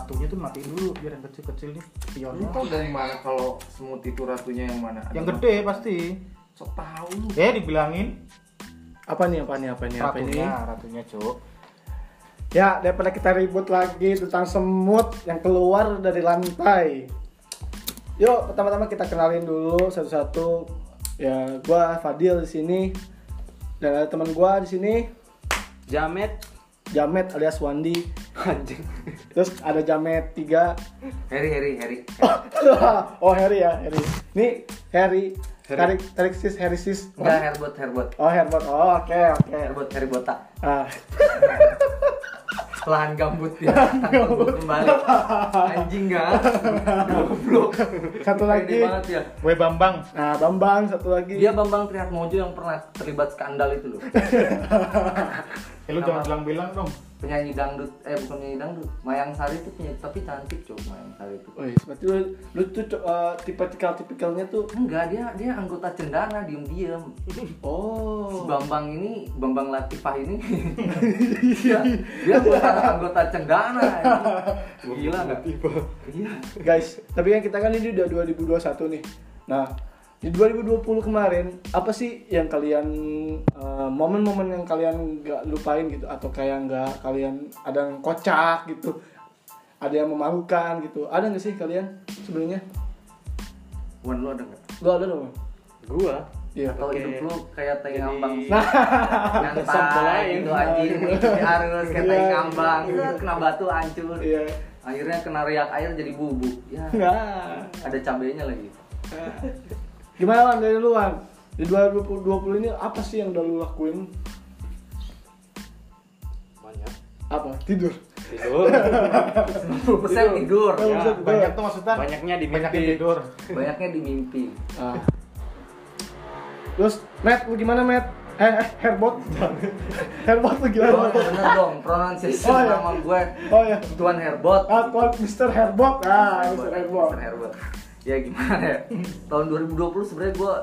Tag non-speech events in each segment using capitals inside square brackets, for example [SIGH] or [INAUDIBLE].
apinya tuh matiin dulu biar yang kecil-kecil nih Lu pionnya. tau dari mana kalau semut itu ratunya yang mana? Yang gede pasti. Sok tau lu. Eh dibilangin Apa nih, apa nih, apa nih, apa nih? ratunya, ratunya, Cuk. Ya, daripada kita ribut lagi tentang semut yang keluar dari lantai. Yuk, pertama-tama kita kenalin dulu satu-satu. Ya, gua Fadil di sini dan ada teman gua di sini Jamet Jamet alias Wandi. [LAUGHS] anjing. Terus ada Jamet 3. Heri, Heri, Heri. oh, Harry ya, Harry. Ini Harry. Tarik tarik sis, Harry sis. Enggak, Herbert, Herbert. Oh, Herbert. Oh, oke, oke. Herbert, Heri botak. Ah, Lahan gambut ya. Gambut kembali. Anjing enggak? Goblok. satu lagi. Pede banget ya. Iya. Gue Bambang. Nah, Bambang satu lagi. Dia Bambang Triatmojo yang pernah terlibat skandal itu loh. Eh lu jangan bilang-bilang dong. Penyanyi dangdut, eh bukan penyanyi dangdut. Mayang Sari itu penyanyi, tapi cantik cok Mayang Sari itu. Wih, berarti lu, lu tuh eh, tipikal-tipikalnya tuh Enggak, dia dia anggota cendana diem-diem. Si Oh. Bambang ini, Bambang Latifah ini, [LAUGHS] dia, dia anggota, anggota cendana. ini. Gila nggak? Iya. Guys, tapi kan kita kan ini udah 2021 nih. Nah, di 2020 kemarin apa sih yang kalian eh, momen-momen yang kalian nggak lupain gitu atau kayak nggak kalian ada yang kocak gitu ada yang memalukan gitu ada nggak sih kalian sebenarnya Wan lu ada nggak? lu ada dong Gua iya Atau Oke. hidup lu kayak tai Jadi- ngambang Nah. nyantai Sombong gitu lain. anjing Ini harus kayak tai Iya. ngambang Set, kena batu hancur iya akhirnya kena riak air jadi bubuk [LAUGHS] ya nah ada cabenya lagi Iya. gimana Wan dari lu Wan di 2020 ini apa sih yang udah lu lakuin banyak apa tidur tidur. 90% tidur Iya. Ya, Banyak tuh maksudnya. Banyaknya di banyak yang mimpi. tidur. banyaknya di mimpi Ah. Terus, Matt, lu gimana, Matt? Eh, eh, [LAUGHS] Herbot. Herbot lu gimana? Dong, Herbot? bener dong pronunciation Iya. Oh, iya. nama gue Oh ya. Tuan Herbot Ah, tuan Mr. Herbot. Ah, Mr. Herbot. Mr. Herbot. ya gimana ya tahun 2020 sebenarnya gue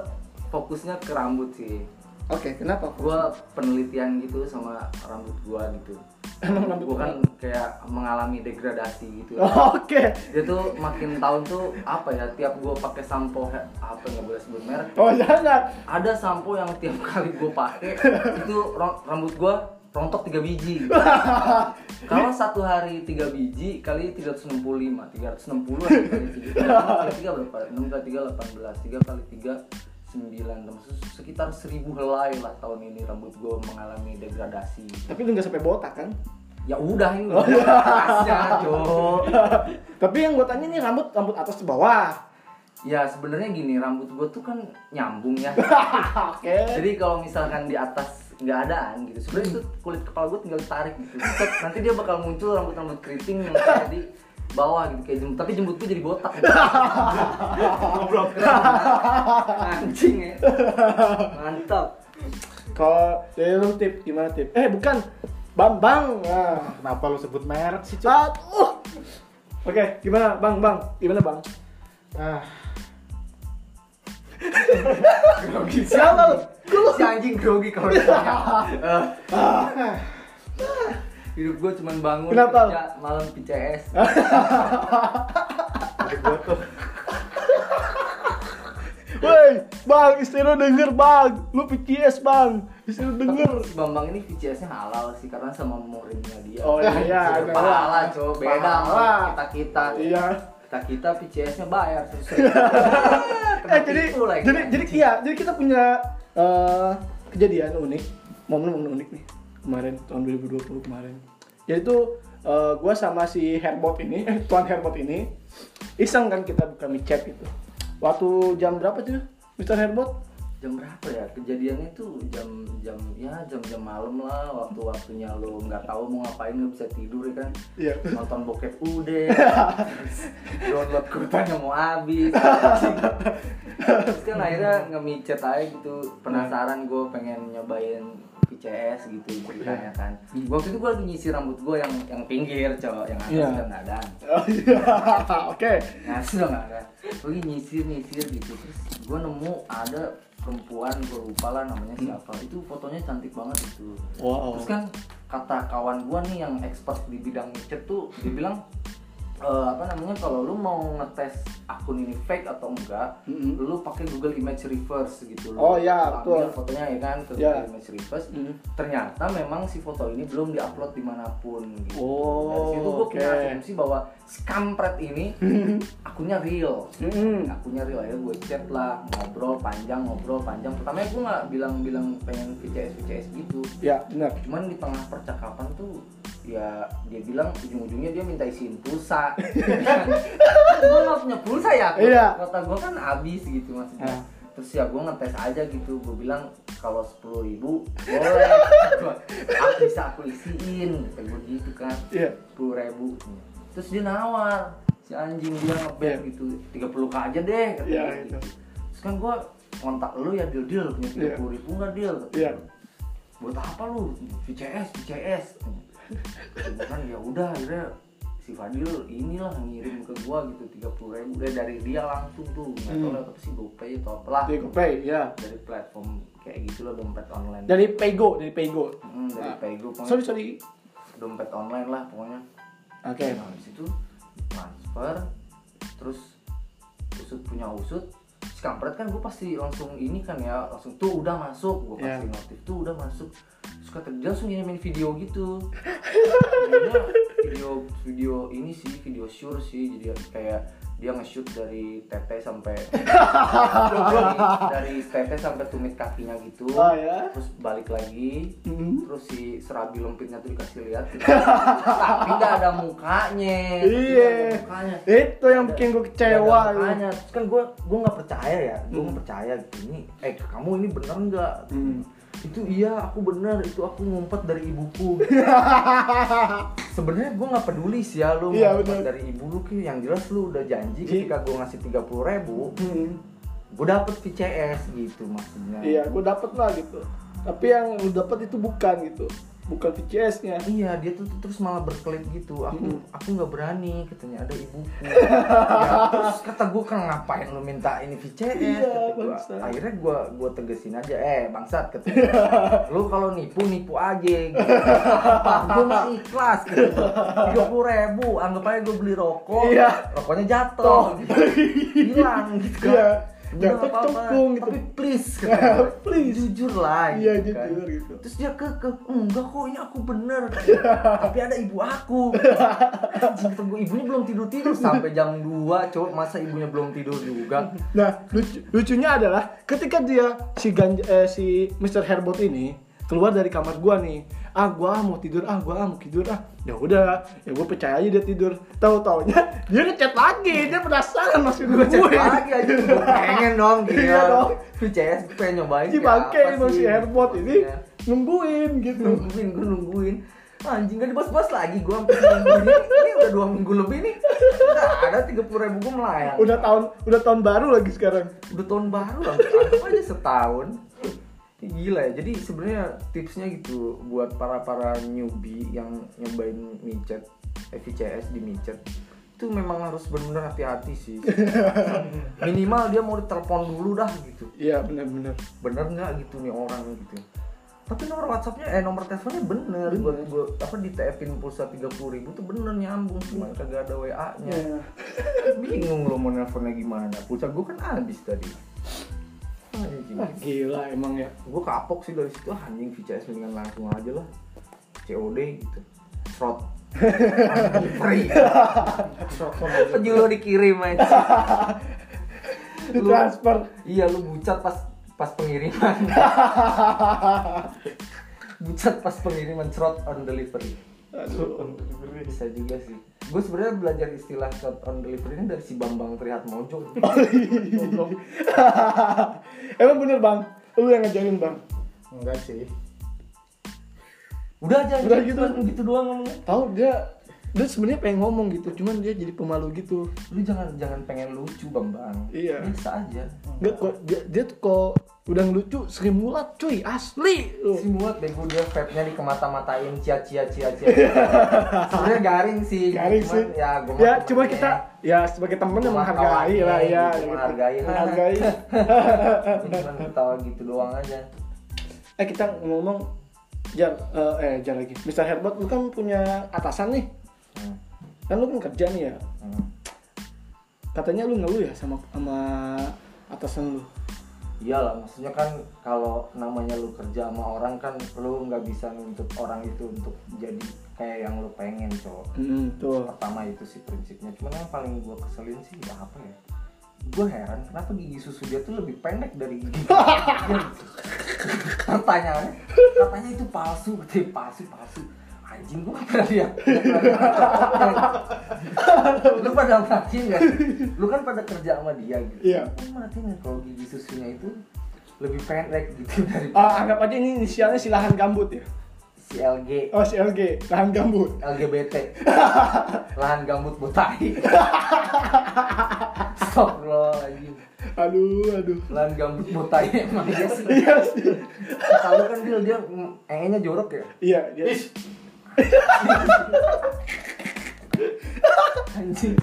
fokusnya ke rambut sih Oke, kenapa? gue penelitian gitu sama rambut gue gitu [CLEARS THROAT] Emang rambut Oh. lu? gue kan kayak mengalami degradasi gitu [LAUGHS] Oke. dia tuh makin tahun tuh apa ya tiap gue pakai sampo he- apa nggak boleh sebut merek Oh, jangan. ada sampo yang tiap [LAUGHS] kali gue pakai itu ro- rambut gue rontok tiga biji kalau satu hari tiga biji kali 365 360 hari kali tiga kali tiga berapa enam kali tiga 18 tiga kali tiga 9 termasuk sekitar 1000 helai lah tahun ini rambut gue mengalami degradasi Tapi lu nggak sampai botak kan? [LAUGHS] ya udah ini udah kerasnya cok Tapi yang gua tanya nih rambut rambut atas ke bawah. ya sebenarnya gini rambut gue tuh kan nyambung ya Oke. jadi kalau misalkan di atas nggak adaan gitu sebenarnya itu kulit kepala gue tinggal tarik gitu Set, nanti dia bakal muncul rambut rambut keriting yang kayak di bawah gitu kayak jembut tapi jembut gue jadi botak gitu. goblok anjing ya mantap Kalau dari lu tip gimana tip? Eh, bukan. Bambang. Nah. Kenapa lu sebut merek sih, Cuk? Sat. Uh. Oke, gimana Bang? Bang, gimana [LAUGHS] Bang? Ah, Siapa lu? si anjing grogi kalau ditanya Eh, hidup gue cuman bangun Kenapa? kerja, malam PCS hidup gua tuh. Woi, bang, istri lu denger bang, lu PCS bang, istri lu denger. Si Bambang ini VCS-nya halal sih karena sama muridnya dia. Oh iya, Jadi iya, pahala coba beda Pahala. kita kita. Iya. Kita kita VCS-nya bayar [LAUGHS] susah. Eh jadi, jadi, jadi iya, jadi kita punya eh, kejadian unik, momen-momen unik nih kemarin tahun 2020 kemarin. Yaitu eh, gua sama si Herbot ini, eh, tuan Herbot ini, iseng kan kita buka micet gitu. Waktu jam berapa tuh, Mr. Herbot? jam berapa ya kejadiannya tuh jam jam ya jam jam malam lah waktu waktunya lo nggak tahu mau ngapain nggak bisa tidur ya kan Iya. nonton bokep udah terus download kuotanya mau habis terus kan akhirnya ngemicet aja gitu penasaran gue pengen nyobain VCS gitu ceritanya kan waktu itu gue lagi nyisir rambut gue yang yang pinggir cowok yang atas Iya. udah nggak ada Oh, iya. [LAUGHS] Oke. Nah, sudah nggak ada. Lagi nyisir nyisir gitu terus gue nemu ada perempuan gue lupa lah namanya siapa. Itu fotonya cantik banget itu. Wow. Hmm. kan Terus kan kata kawan gue nih yang expert di bidang micet tuh dibilang eh, apa namanya kalau lu mau ngetes akun ini fake atau enggak, Mm-mm. lu pakai Google Image Reverse gitu Lu Hmm. Oh, iya, ambil betul. fotonya ya kan ke Iya. Google Image Reverse. Mm. Ternyata memang si foto ini belum diupload dimanapun gitu. Oh, Dari situ gue punya oke. asumsi bahwa scampret ini [LAUGHS] akunnya real. Mm-mm. Akunnya real ya gue chat lah, ngobrol panjang, ngobrol panjang. Pertamanya gue nggak bilang-bilang pengen VCS VCS gitu Ya, benar. cuman di tengah percakapan tuh ya dia bilang ujung-ujungnya dia minta isiin [LAUGHS] pulsa gue nggak punya pulsa ya Iya. kota gue kan habis gitu maksudnya Ah. terus ya gue ngetes aja gitu gue bilang kalau sepuluh ribu [LAUGHS] boleh Gua, aku bisa aku isiin kata gue gitu kan Iya. sepuluh ribu terus dia nawar si anjing dia ngebet Iya. gitu tiga puluh aja deh kata Iya, dia gitu. gitu. terus kan gue kontak lu ya deal deal punya Iya. tiga puluh ribu nggak deal kata Iya. buat apa lu VCS VCS Gua kan ya udah akhirnya si Fadil inilah ngirim ke gua gitu tiga puluh ribu udah dari dia langsung tuh nggak tahu Hmm. lah apa sih GoPay atau apalah Dari GoPay, ya. dari platform kayak gitu loh dompet online Dari Paygo, dari Paygo. Hmm, dari Ah. Paygo pokoknya Sorry, sorry. dompet online lah pokoknya Oke. nah habis itu transfer terus usut punya usut Si kampret kan gue pasti langsung ini kan ya langsung tuh udah masuk gue Iya. pasti notif tuh udah masuk suka terjadi langsung ngirimin video [LAUGHS] gitu Videonya video video ini sih video sure sih jadi kayak dia nge-shoot dari tete sampai [LAUGHS] dari tete sampai tumit kakinya gitu Oh, ya. terus balik lagi Mm. terus si serabi lempitnya tuh dikasih lihat gitu. tapi nggak ada mukanya Iya. nggak ada mukanya Itu yang bikin gue kecewa. ya. gitu. Gak ada mukanya. Terus kan gue gue nggak percaya ya gue nggak percaya gitu ini eh kamu ini bener nggak Hmm. itu iya aku bener itu aku ngumpet dari [LAUGHS] ibuku sebenarnya gue nggak peduli sih ya lu Iya, ngumpet bener. dari ibu lu Ki. yang jelas lu udah janji Iya. ketika gue ngasih tiga puluh ribu Mm. gue dapet VCS gitu maksudnya Iya, gue dapet lah gitu. Tapi yang lu dapet itu bukan gitu. Bukan VCS-nya. Iya, dia tuh tuh terus malah berkelit gitu. Aku Mm. aku nggak berani, katanya ada ibuku. [LAUGHS] ya, terus kata gue kan ngapain lu minta ini VCS? Iya, Kata gua. bangsat. Akhirnya gue gue tegesin aja, eh bangsat kata gua. Iya. Lu kalau nipu nipu aja. Gitu. Apa? Gue mah ikhlas. gitu. Tiga puluh ribu, anggap aja gue beli rokok. Iya. Rokoknya jatuh, gitu. hilang gitu kan. Iya. Udah, Jatuh apa-apa. cekung, gitu. Tapi please, kata gua. [LAUGHS] Please. jujur lah. Iya, gitu kan jujur gitu. terus dia ke ke enggak kok ini aku [LAUGHS] bener tapi ada ibu aku Anjing, tunggu ibunya belum tidur tidur [LAUGHS] sampai jam 2 coba masa ibunya belum tidur juga Nah, lucu- lucunya adalah ketika dia si ganja, eh, si Mr. Herbot ini keluar dari kamar gua nih. Ah, gua mau tidur. Ah, gua mau tidur. Ah, ya udah. Ya gua percaya aja dia tidur. Tahu-taunya dia ngechat lagi. Dia penasaran maksud gue. gue cek lagi aja gue [LAUGHS] pengen [LAUGHS] dong Iya gila dong. lu CS gue pengen nyobain Si kayak bangke apa emang si sih, Iya. Herbot ini maksudnya. nungguin gitu. nungguin gue nungguin anjing gak dibos-bos lagi gue hampir seminggu ini ini udah dua minggu lebih nih udah ada tiga puluh ribu gue melayang Udah tahun udah tahun baru lagi sekarang. udah tahun baru lah anggap aja setahun gila ya jadi sebenarnya tipsnya gitu buat para para newbie yang nyobain micet FICS di micet itu memang harus benar-benar hati-hati sih minimal dia mau ditelepon dulu dah gitu Iya, benar-benar. bener nggak gitu nih orang gitu tapi nomor WhatsAppnya eh nomor teleponnya bener, buat gua apa di TF-in pulsa tiga puluh ribu tuh bener nyambung cuma kagak ada WA nya Iya. [LAUGHS] bingung lo mau nelfonnya gimana pulsa gua kan habis tadi Ah, Wah, Eh. gila emang ya. gue kapok sih dari situ ah, anjing VCS mendingan langsung aja lah COD gitu [LAUGHS] shot Anjing, [LAUGHS] free Shot sama gua. Penyu lo dikirim aja Ditransfer. iya lu bucat pas pas pengiriman [LAUGHS] bucat pas pengiriman shot on delivery Aduh. bisa juga sih gue sebenarnya belajar istilah shot on delivery ini dari si Bambang Trihatmojo Goblok. emang bener, Bang. Lu yang ngajarin, Bang. Enggak sih. udah aja Udah gitu. cuman gitu doang ngomongnya tahu dia dia sebenarnya pengen ngomong gitu cuman dia jadi pemalu gitu lu jangan jangan pengen lucu Bambang Iya. bisa aja nggak kok dia, dia tuh kok udah ngelucu sering mulat cuy asli lu. si muat bego dia vape-nya dikemata-matain cia cia cia [LAUGHS] cia sebenarnya garing sih garing cuman sih ya gua mah ya cuma temennya. kita ya sebagai temen Cuma menghargai lah kawannya ya gitu, gitu. menghargai. menghargai [LAUGHS] [LAUGHS] cuman ketawa gitu doang aja eh kita ngomong jar eh, eh jar lagi Mr. Herbert lu kan punya atasan nih Hmm. kan lu kan kerja nih ya Hmm. katanya lu ngeluh ya sama sama atasan lu iyalah maksudnya kan kalau namanya lu kerja sama orang kan lu nggak bisa nuntut orang itu untuk jadi kayak yang lu pengen cowok Mm, tuh pertama itu sih prinsipnya cuman yang paling gua keselin sih ya apa ya gue heran kenapa gigi susu dia tuh lebih pendek dari gigi [LAUGHS] pertanyaannya katanya itu palsu katanya palsu palsu anjing gue gak pernah lihat nggak pernah lihat. lu pada merhatiin gak lu kan pada kerja sama dia gitu Iya. lu merhatiin nggak kalau gigi susunya itu lebih pendek gitu dari Ah, anggap aja ini inisialnya si lahan gambut ya si LG oh si LG lahan gambut [LAUGHS] LGBT lahan gambut [LAUGHS] botai stop lo lagi aduh aduh lahan gambut botai emang dia sih iya sih kalau kan dia dia mm, engenya jorok ya iya dia [LAUGHS] Ish, anjing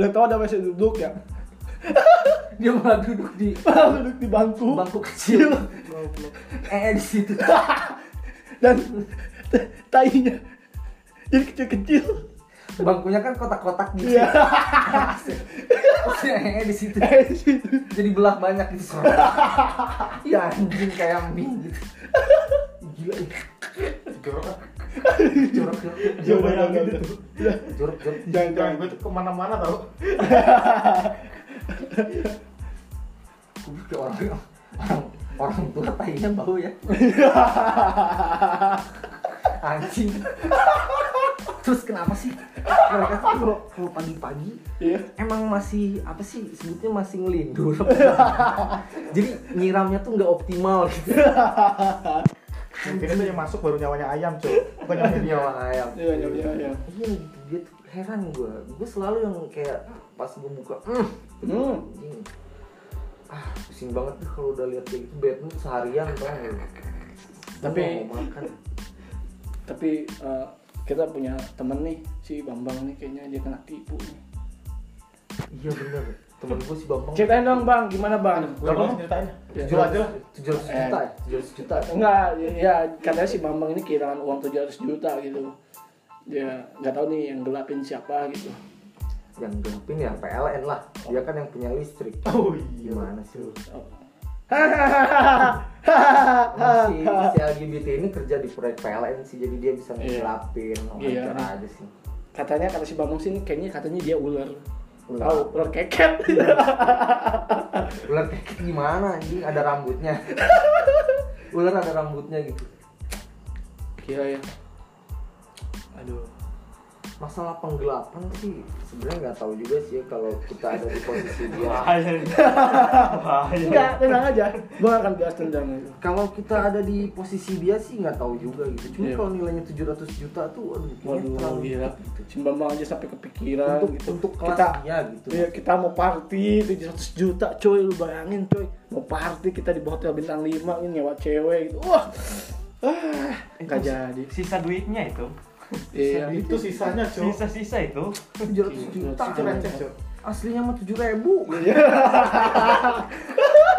udah tau ada mesin duduk ya dia malah duduk di duduk di bangku bangku [LAUGHS] kecil eh Oh, iya. di situ [LAUGHS] dan t- tainya jadi kecil-kecil bangkunya kan kotak-kotak gitu iya Terus eh di situ eh di situ jadi belah banyak [LAUGHS] gitu ya anjing kayak mie gitu gila ya. jorok jorok jorok Coba yang gitu jorok jorok jangan jangan jangan gue tuh kemana-mana tau Gue kayak orang orang orang tua tainya bau ya. Anjing. Terus kenapa sih? Mereka tuh kalau kalau pagi-pagi [LAUGHS] iya emang masih apa sih sebutnya masih ngelindur. Jadi nyiramnya tuh nggak optimal gitu. mungkin itu yang masuk baru nyawanya ayam cuy bukan nyawanya dia Nyawa ayam. iya iya iya iya Iya gitu dia tuh heran gue. Gue selalu yang kayak pas gue buka, "Mm, hmm anjing. Ah, pusing banget tuh kalau udah lihat kayak gitu bad mood seharian tau nggak lu? Tapi- Mau makan. tapi eh, kita punya temen nih si Bambang nih kayaknya dia kena tipu nih Iya bener, temen gue si Bambang ceritain dong bang gimana bang Ya, gue mau ceritain jujur aja lah 700 juta ya? 700 juta enggak ya- ya katanya si Bambang ini kehilangan uang 700 juta gitu ya nggak tahu nih yang gelapin siapa gitu Yang gelapin ya PLN lah Dia kan yang punya listrik oh iya Gimana sih [LAUGHS] lu? Oh. Masih si LGBT ini kerja di proyek PLN sih Jadi dia bisa ngelapin oh Iya. Wawancara aja sih katanya kata si Bambang sih ini kayaknya katanya dia ular Ular. tahu ular keket Ular keket gimana anjing? Ada [LAUGHS] rambutnya Ular ada rambutnya gitu gila ya aduh Masalah penggelapan sih sebenarnya nggak tahu juga sih ya Kalau kita ada di posisi dia Bahaya. Bahaya. enggak tenang aja gua nggak akan gitu. bahas tentang itu [LAUGHS] kalau kita ada di posisi dia sih nggak tahu juga gitu cuma Iya. kalau nilainya 700 juta tuh aduh kayaknya waduh terlalu gila dikit gitu. si Bambang aja sampai kepikiran untuk gitu untuk kelas kita dia gitu Iya, kita mau party 700 juta coy, lu bayangin coy. Mau party kita di hotel bintang 5 ini nyewa cewek gitu. Wah. Ah, nggak jadi. Sisa duitnya itu. Iya. itu sisanya cuy Sisa-sisa itu. 700 Iya, juta Iya. itu receh cuy aslinya mah 7000 ribu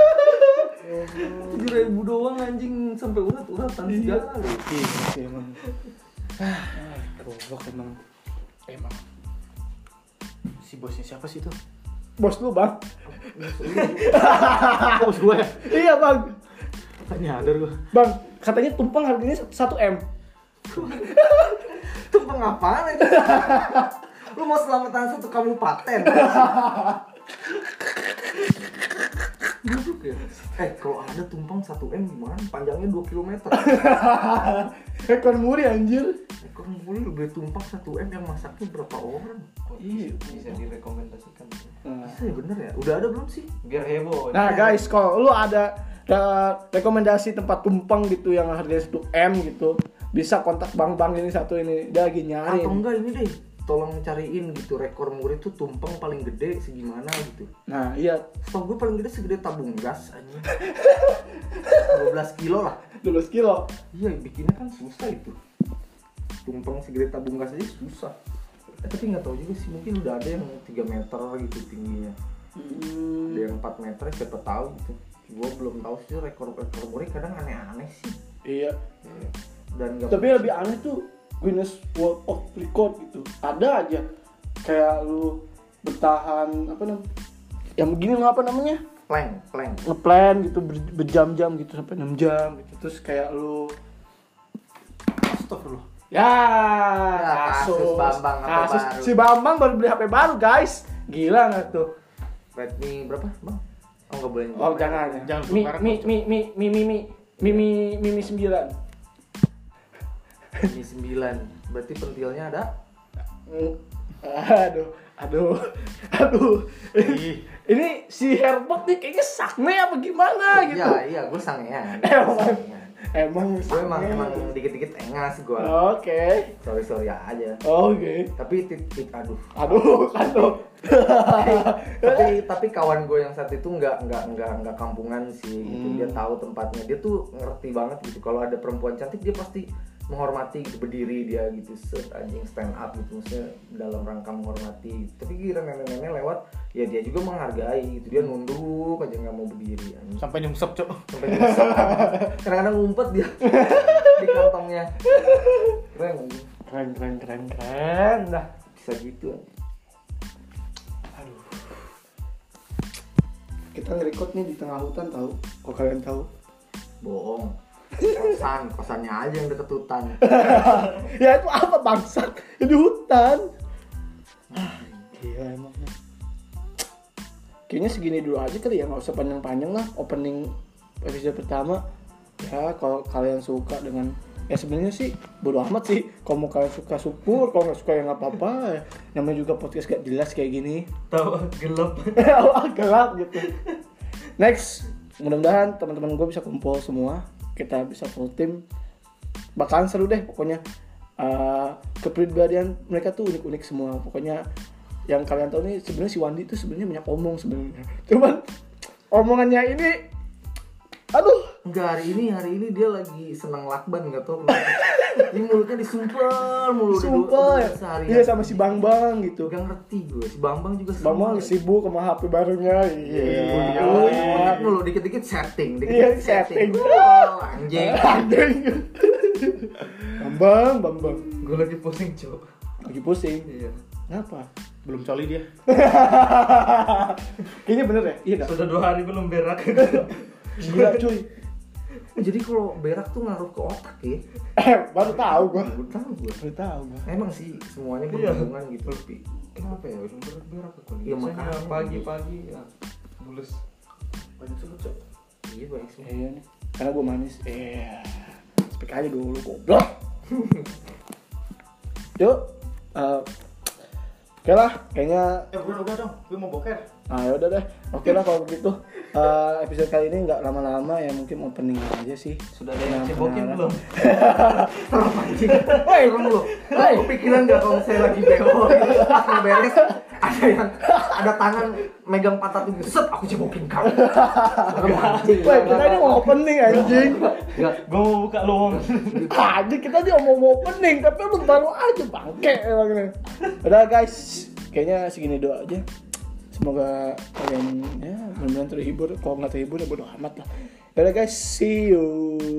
[LAUGHS] 7000 ribu doang anjing sampai urat uratan segala lu. Iya, emang. Ah, goblok emang. emang si bosnya siapa sih itu Bos lu, Bang. Ah, bos gue Iya, Bang. tanya ada gue Bang, katanya tumpeng harganya 1 M. itu pengapaan [LAUGHS] aja lu mau selamatan satu kabupaten Duduk ya? Eh, kalau ada tumpang 1M gimana? Panjangnya 2 [LAUGHS] km [LAUGHS] Ekor muri anjir. Ekor mulu lebih tumpang 1M yang masaknya berapa orang? Iya. Bisa direkomendasikan. Nah. Bisa ya bener ya? Udah ada belum sih? Biar heboh. Nah Iya. guys, kalau lu ada eh, rekomendasi tempat tumpeng gitu yang harganya 1 M gitu, bisa kontak Bang Bang ini satu ini. Dia lagi nyari. Atau enggak ini deh tolong cariin gitu rekor murid tuh tumpeng paling gede segimana gitu Nah, iya Stok gue paling gede segede tabung gas anjing 12 kilo lah 12 kilo. Iya, bikinnya kan susah itu. Tumpeng segede tabung gas aja susah. Eh, tapi nggak tahu juga sih, mungkin udah ada yang 3 meter gitu tingginya. Ada yang 4 meter, siapa tahu gitu. Gue belum tahu sih rekor rekor murid kadang aneh-aneh sih. Iya. Dan nggak Tapi lebih aneh tuh Guinness World of Record gitu ada aja kayak lu bertahan apa namanya yang begini lah apa namanya Plank, plank. ngeplan gitu ber- berjam-jam gitu sampai 6 jam gitu terus kayak lu Astagfirullah ya kasus kasus Bambang apa kasus baru? si Bambang baru beli HP baru guys gila nggak tuh Redmi berapa, Bang? Oh, nggak boleh. oh jangan ya Jangan mi tukaran, mi mi mi mi mi mi mi mi mi mi sembilan Ini 9. Berarti pentilnya ada? Mm. aduh aduh aduh Ih. ini si Herbert nih kayaknya sakne apa gimana gitu Iya, iya, gue sangean. Emang. Gua sangean. emang Gue emang sakne. emang dikit-dikit engas gue. oke Sorry sorry aja. oke Tapi tit, tit- aduh. aduh aduh tapi tapi kawan gue yang saat itu nggak nggak nggak nggak kampungan sih gitu. dia tahu tempatnya dia tuh ngerti banget gitu kalau ada perempuan cantik dia pasti menghormati gitu berdiri dia gitu set anjing stand up gitu maksudnya dalam rangka menghormati gitu. tapi kira nenek-nenek lewat ya dia juga menghargai gitu dia nunduk aja nggak mau berdiri anjing. Sampai nyungsep, Cok. sampai nyesel. kadang-kadang ngumpet [LAUGHS] dia di kantongnya keren anjing. keren keren keren Eh, keren dah bisa gitu anjing. [LAUGHS] kita ngerekod nih di tengah hutan tahu kok kalian tahu bohong kosan kosannya aja yang deket hutan [LAUGHS] ya itu apa bangsat Ya, di hutan Ah, gila emang kayaknya segini dulu aja kali ya nggak usah panjang-panjang lah opening episode pertama ya kalau kalian suka dengan ya sebenarnya sih bodo amat sih kalau mau kalian suka syukur kalau nggak suka ya nggak apa-apa namanya juga podcast gak jelas kayak gini Tahu gelap. [LAUGHS] Wah, gelap gitu. Next, mudah-mudahan teman-teman gue bisa kumpul semua, kita bisa full tim. Bakalan seru deh pokoknya. Eh, kepribadian mereka tuh unik-unik semua. Pokoknya yang kalian tahu nih sebenarnya si Wandi tuh sebenarnya banyak omong sebenarnya. Cuman omongannya ini aduh, Enggak hari ini hari ini dia lagi senang lakban nggak tau kenapa. Ini mulutnya disumpel mulu udah dua- ya. sumpah udah seharian. Iya sama si Bang Bang gitu. Gak ngerti gue si Bambang juga ya. Iya, Bang Bang sih. sibuk sama HP barunya. Iya. mulu dikit-dikit setting, Iya, dikit-dikit setting. setting. Oh, anjing. [LAUGHS] Anjing. Bambang, Bambang. Gue lagi pusing, Cok. Lagi pusing. Iya. Kenapa? [LAUGHS] Belum coli dia. Kayaknya bener ya? Iya dah. Sudah dua hari belum berak. Gila cuy. [LAUGHS] Jadi kalau berak tuh ngaruh ke otak ya. Eh, baru tahu gua. Gue tahu gue. Baru tahu gua. Emang sih semuanya Iya. berhubungan gitu. Tapi Kenapa ya? Belum berak berak aku. Iya, Biasanya makanya. pagi-pagi ya. Mulus. banyak sulit Cok. Iya banyak [LAUGHS] sulit. Iya nih. Karena gua manis. Iya. Speak aja dulu goblok. [LAUGHS] Yuk. Eh, Oke lah, kayaknya Eh, udah, udah dong. Gue mau boker. ah yaudah deh. Oke lah kalau begitu Eh, episode kali ini nggak lama-lama ya mungkin opening aja sih. Nah, Sudah ada yang Kenapa- cebokin kenapa? belum? Serem [LAUGHS] anjing. Woi, serem lu. Woi, kepikiran gak kalau saya lagi beo. [LAUGHS] Pas mau beres ada yang ada tangan megang patah tubuh. Set, aku cebokin [LAUGHS] kamu. Serem Iya, anjing. Wah, kita ini mau opening anjing. [LAUGHS] Enggak, Gue mau buka lowong. Tadi kita dia mau mau opening, tapi lu baru aja bangke emang ini. Udah guys, kayaknya segini doa aja. Semoga kalian ya benar-benar terhibur. Kalau nggak terhibur ya bodo amat lah. Udah guys, see you.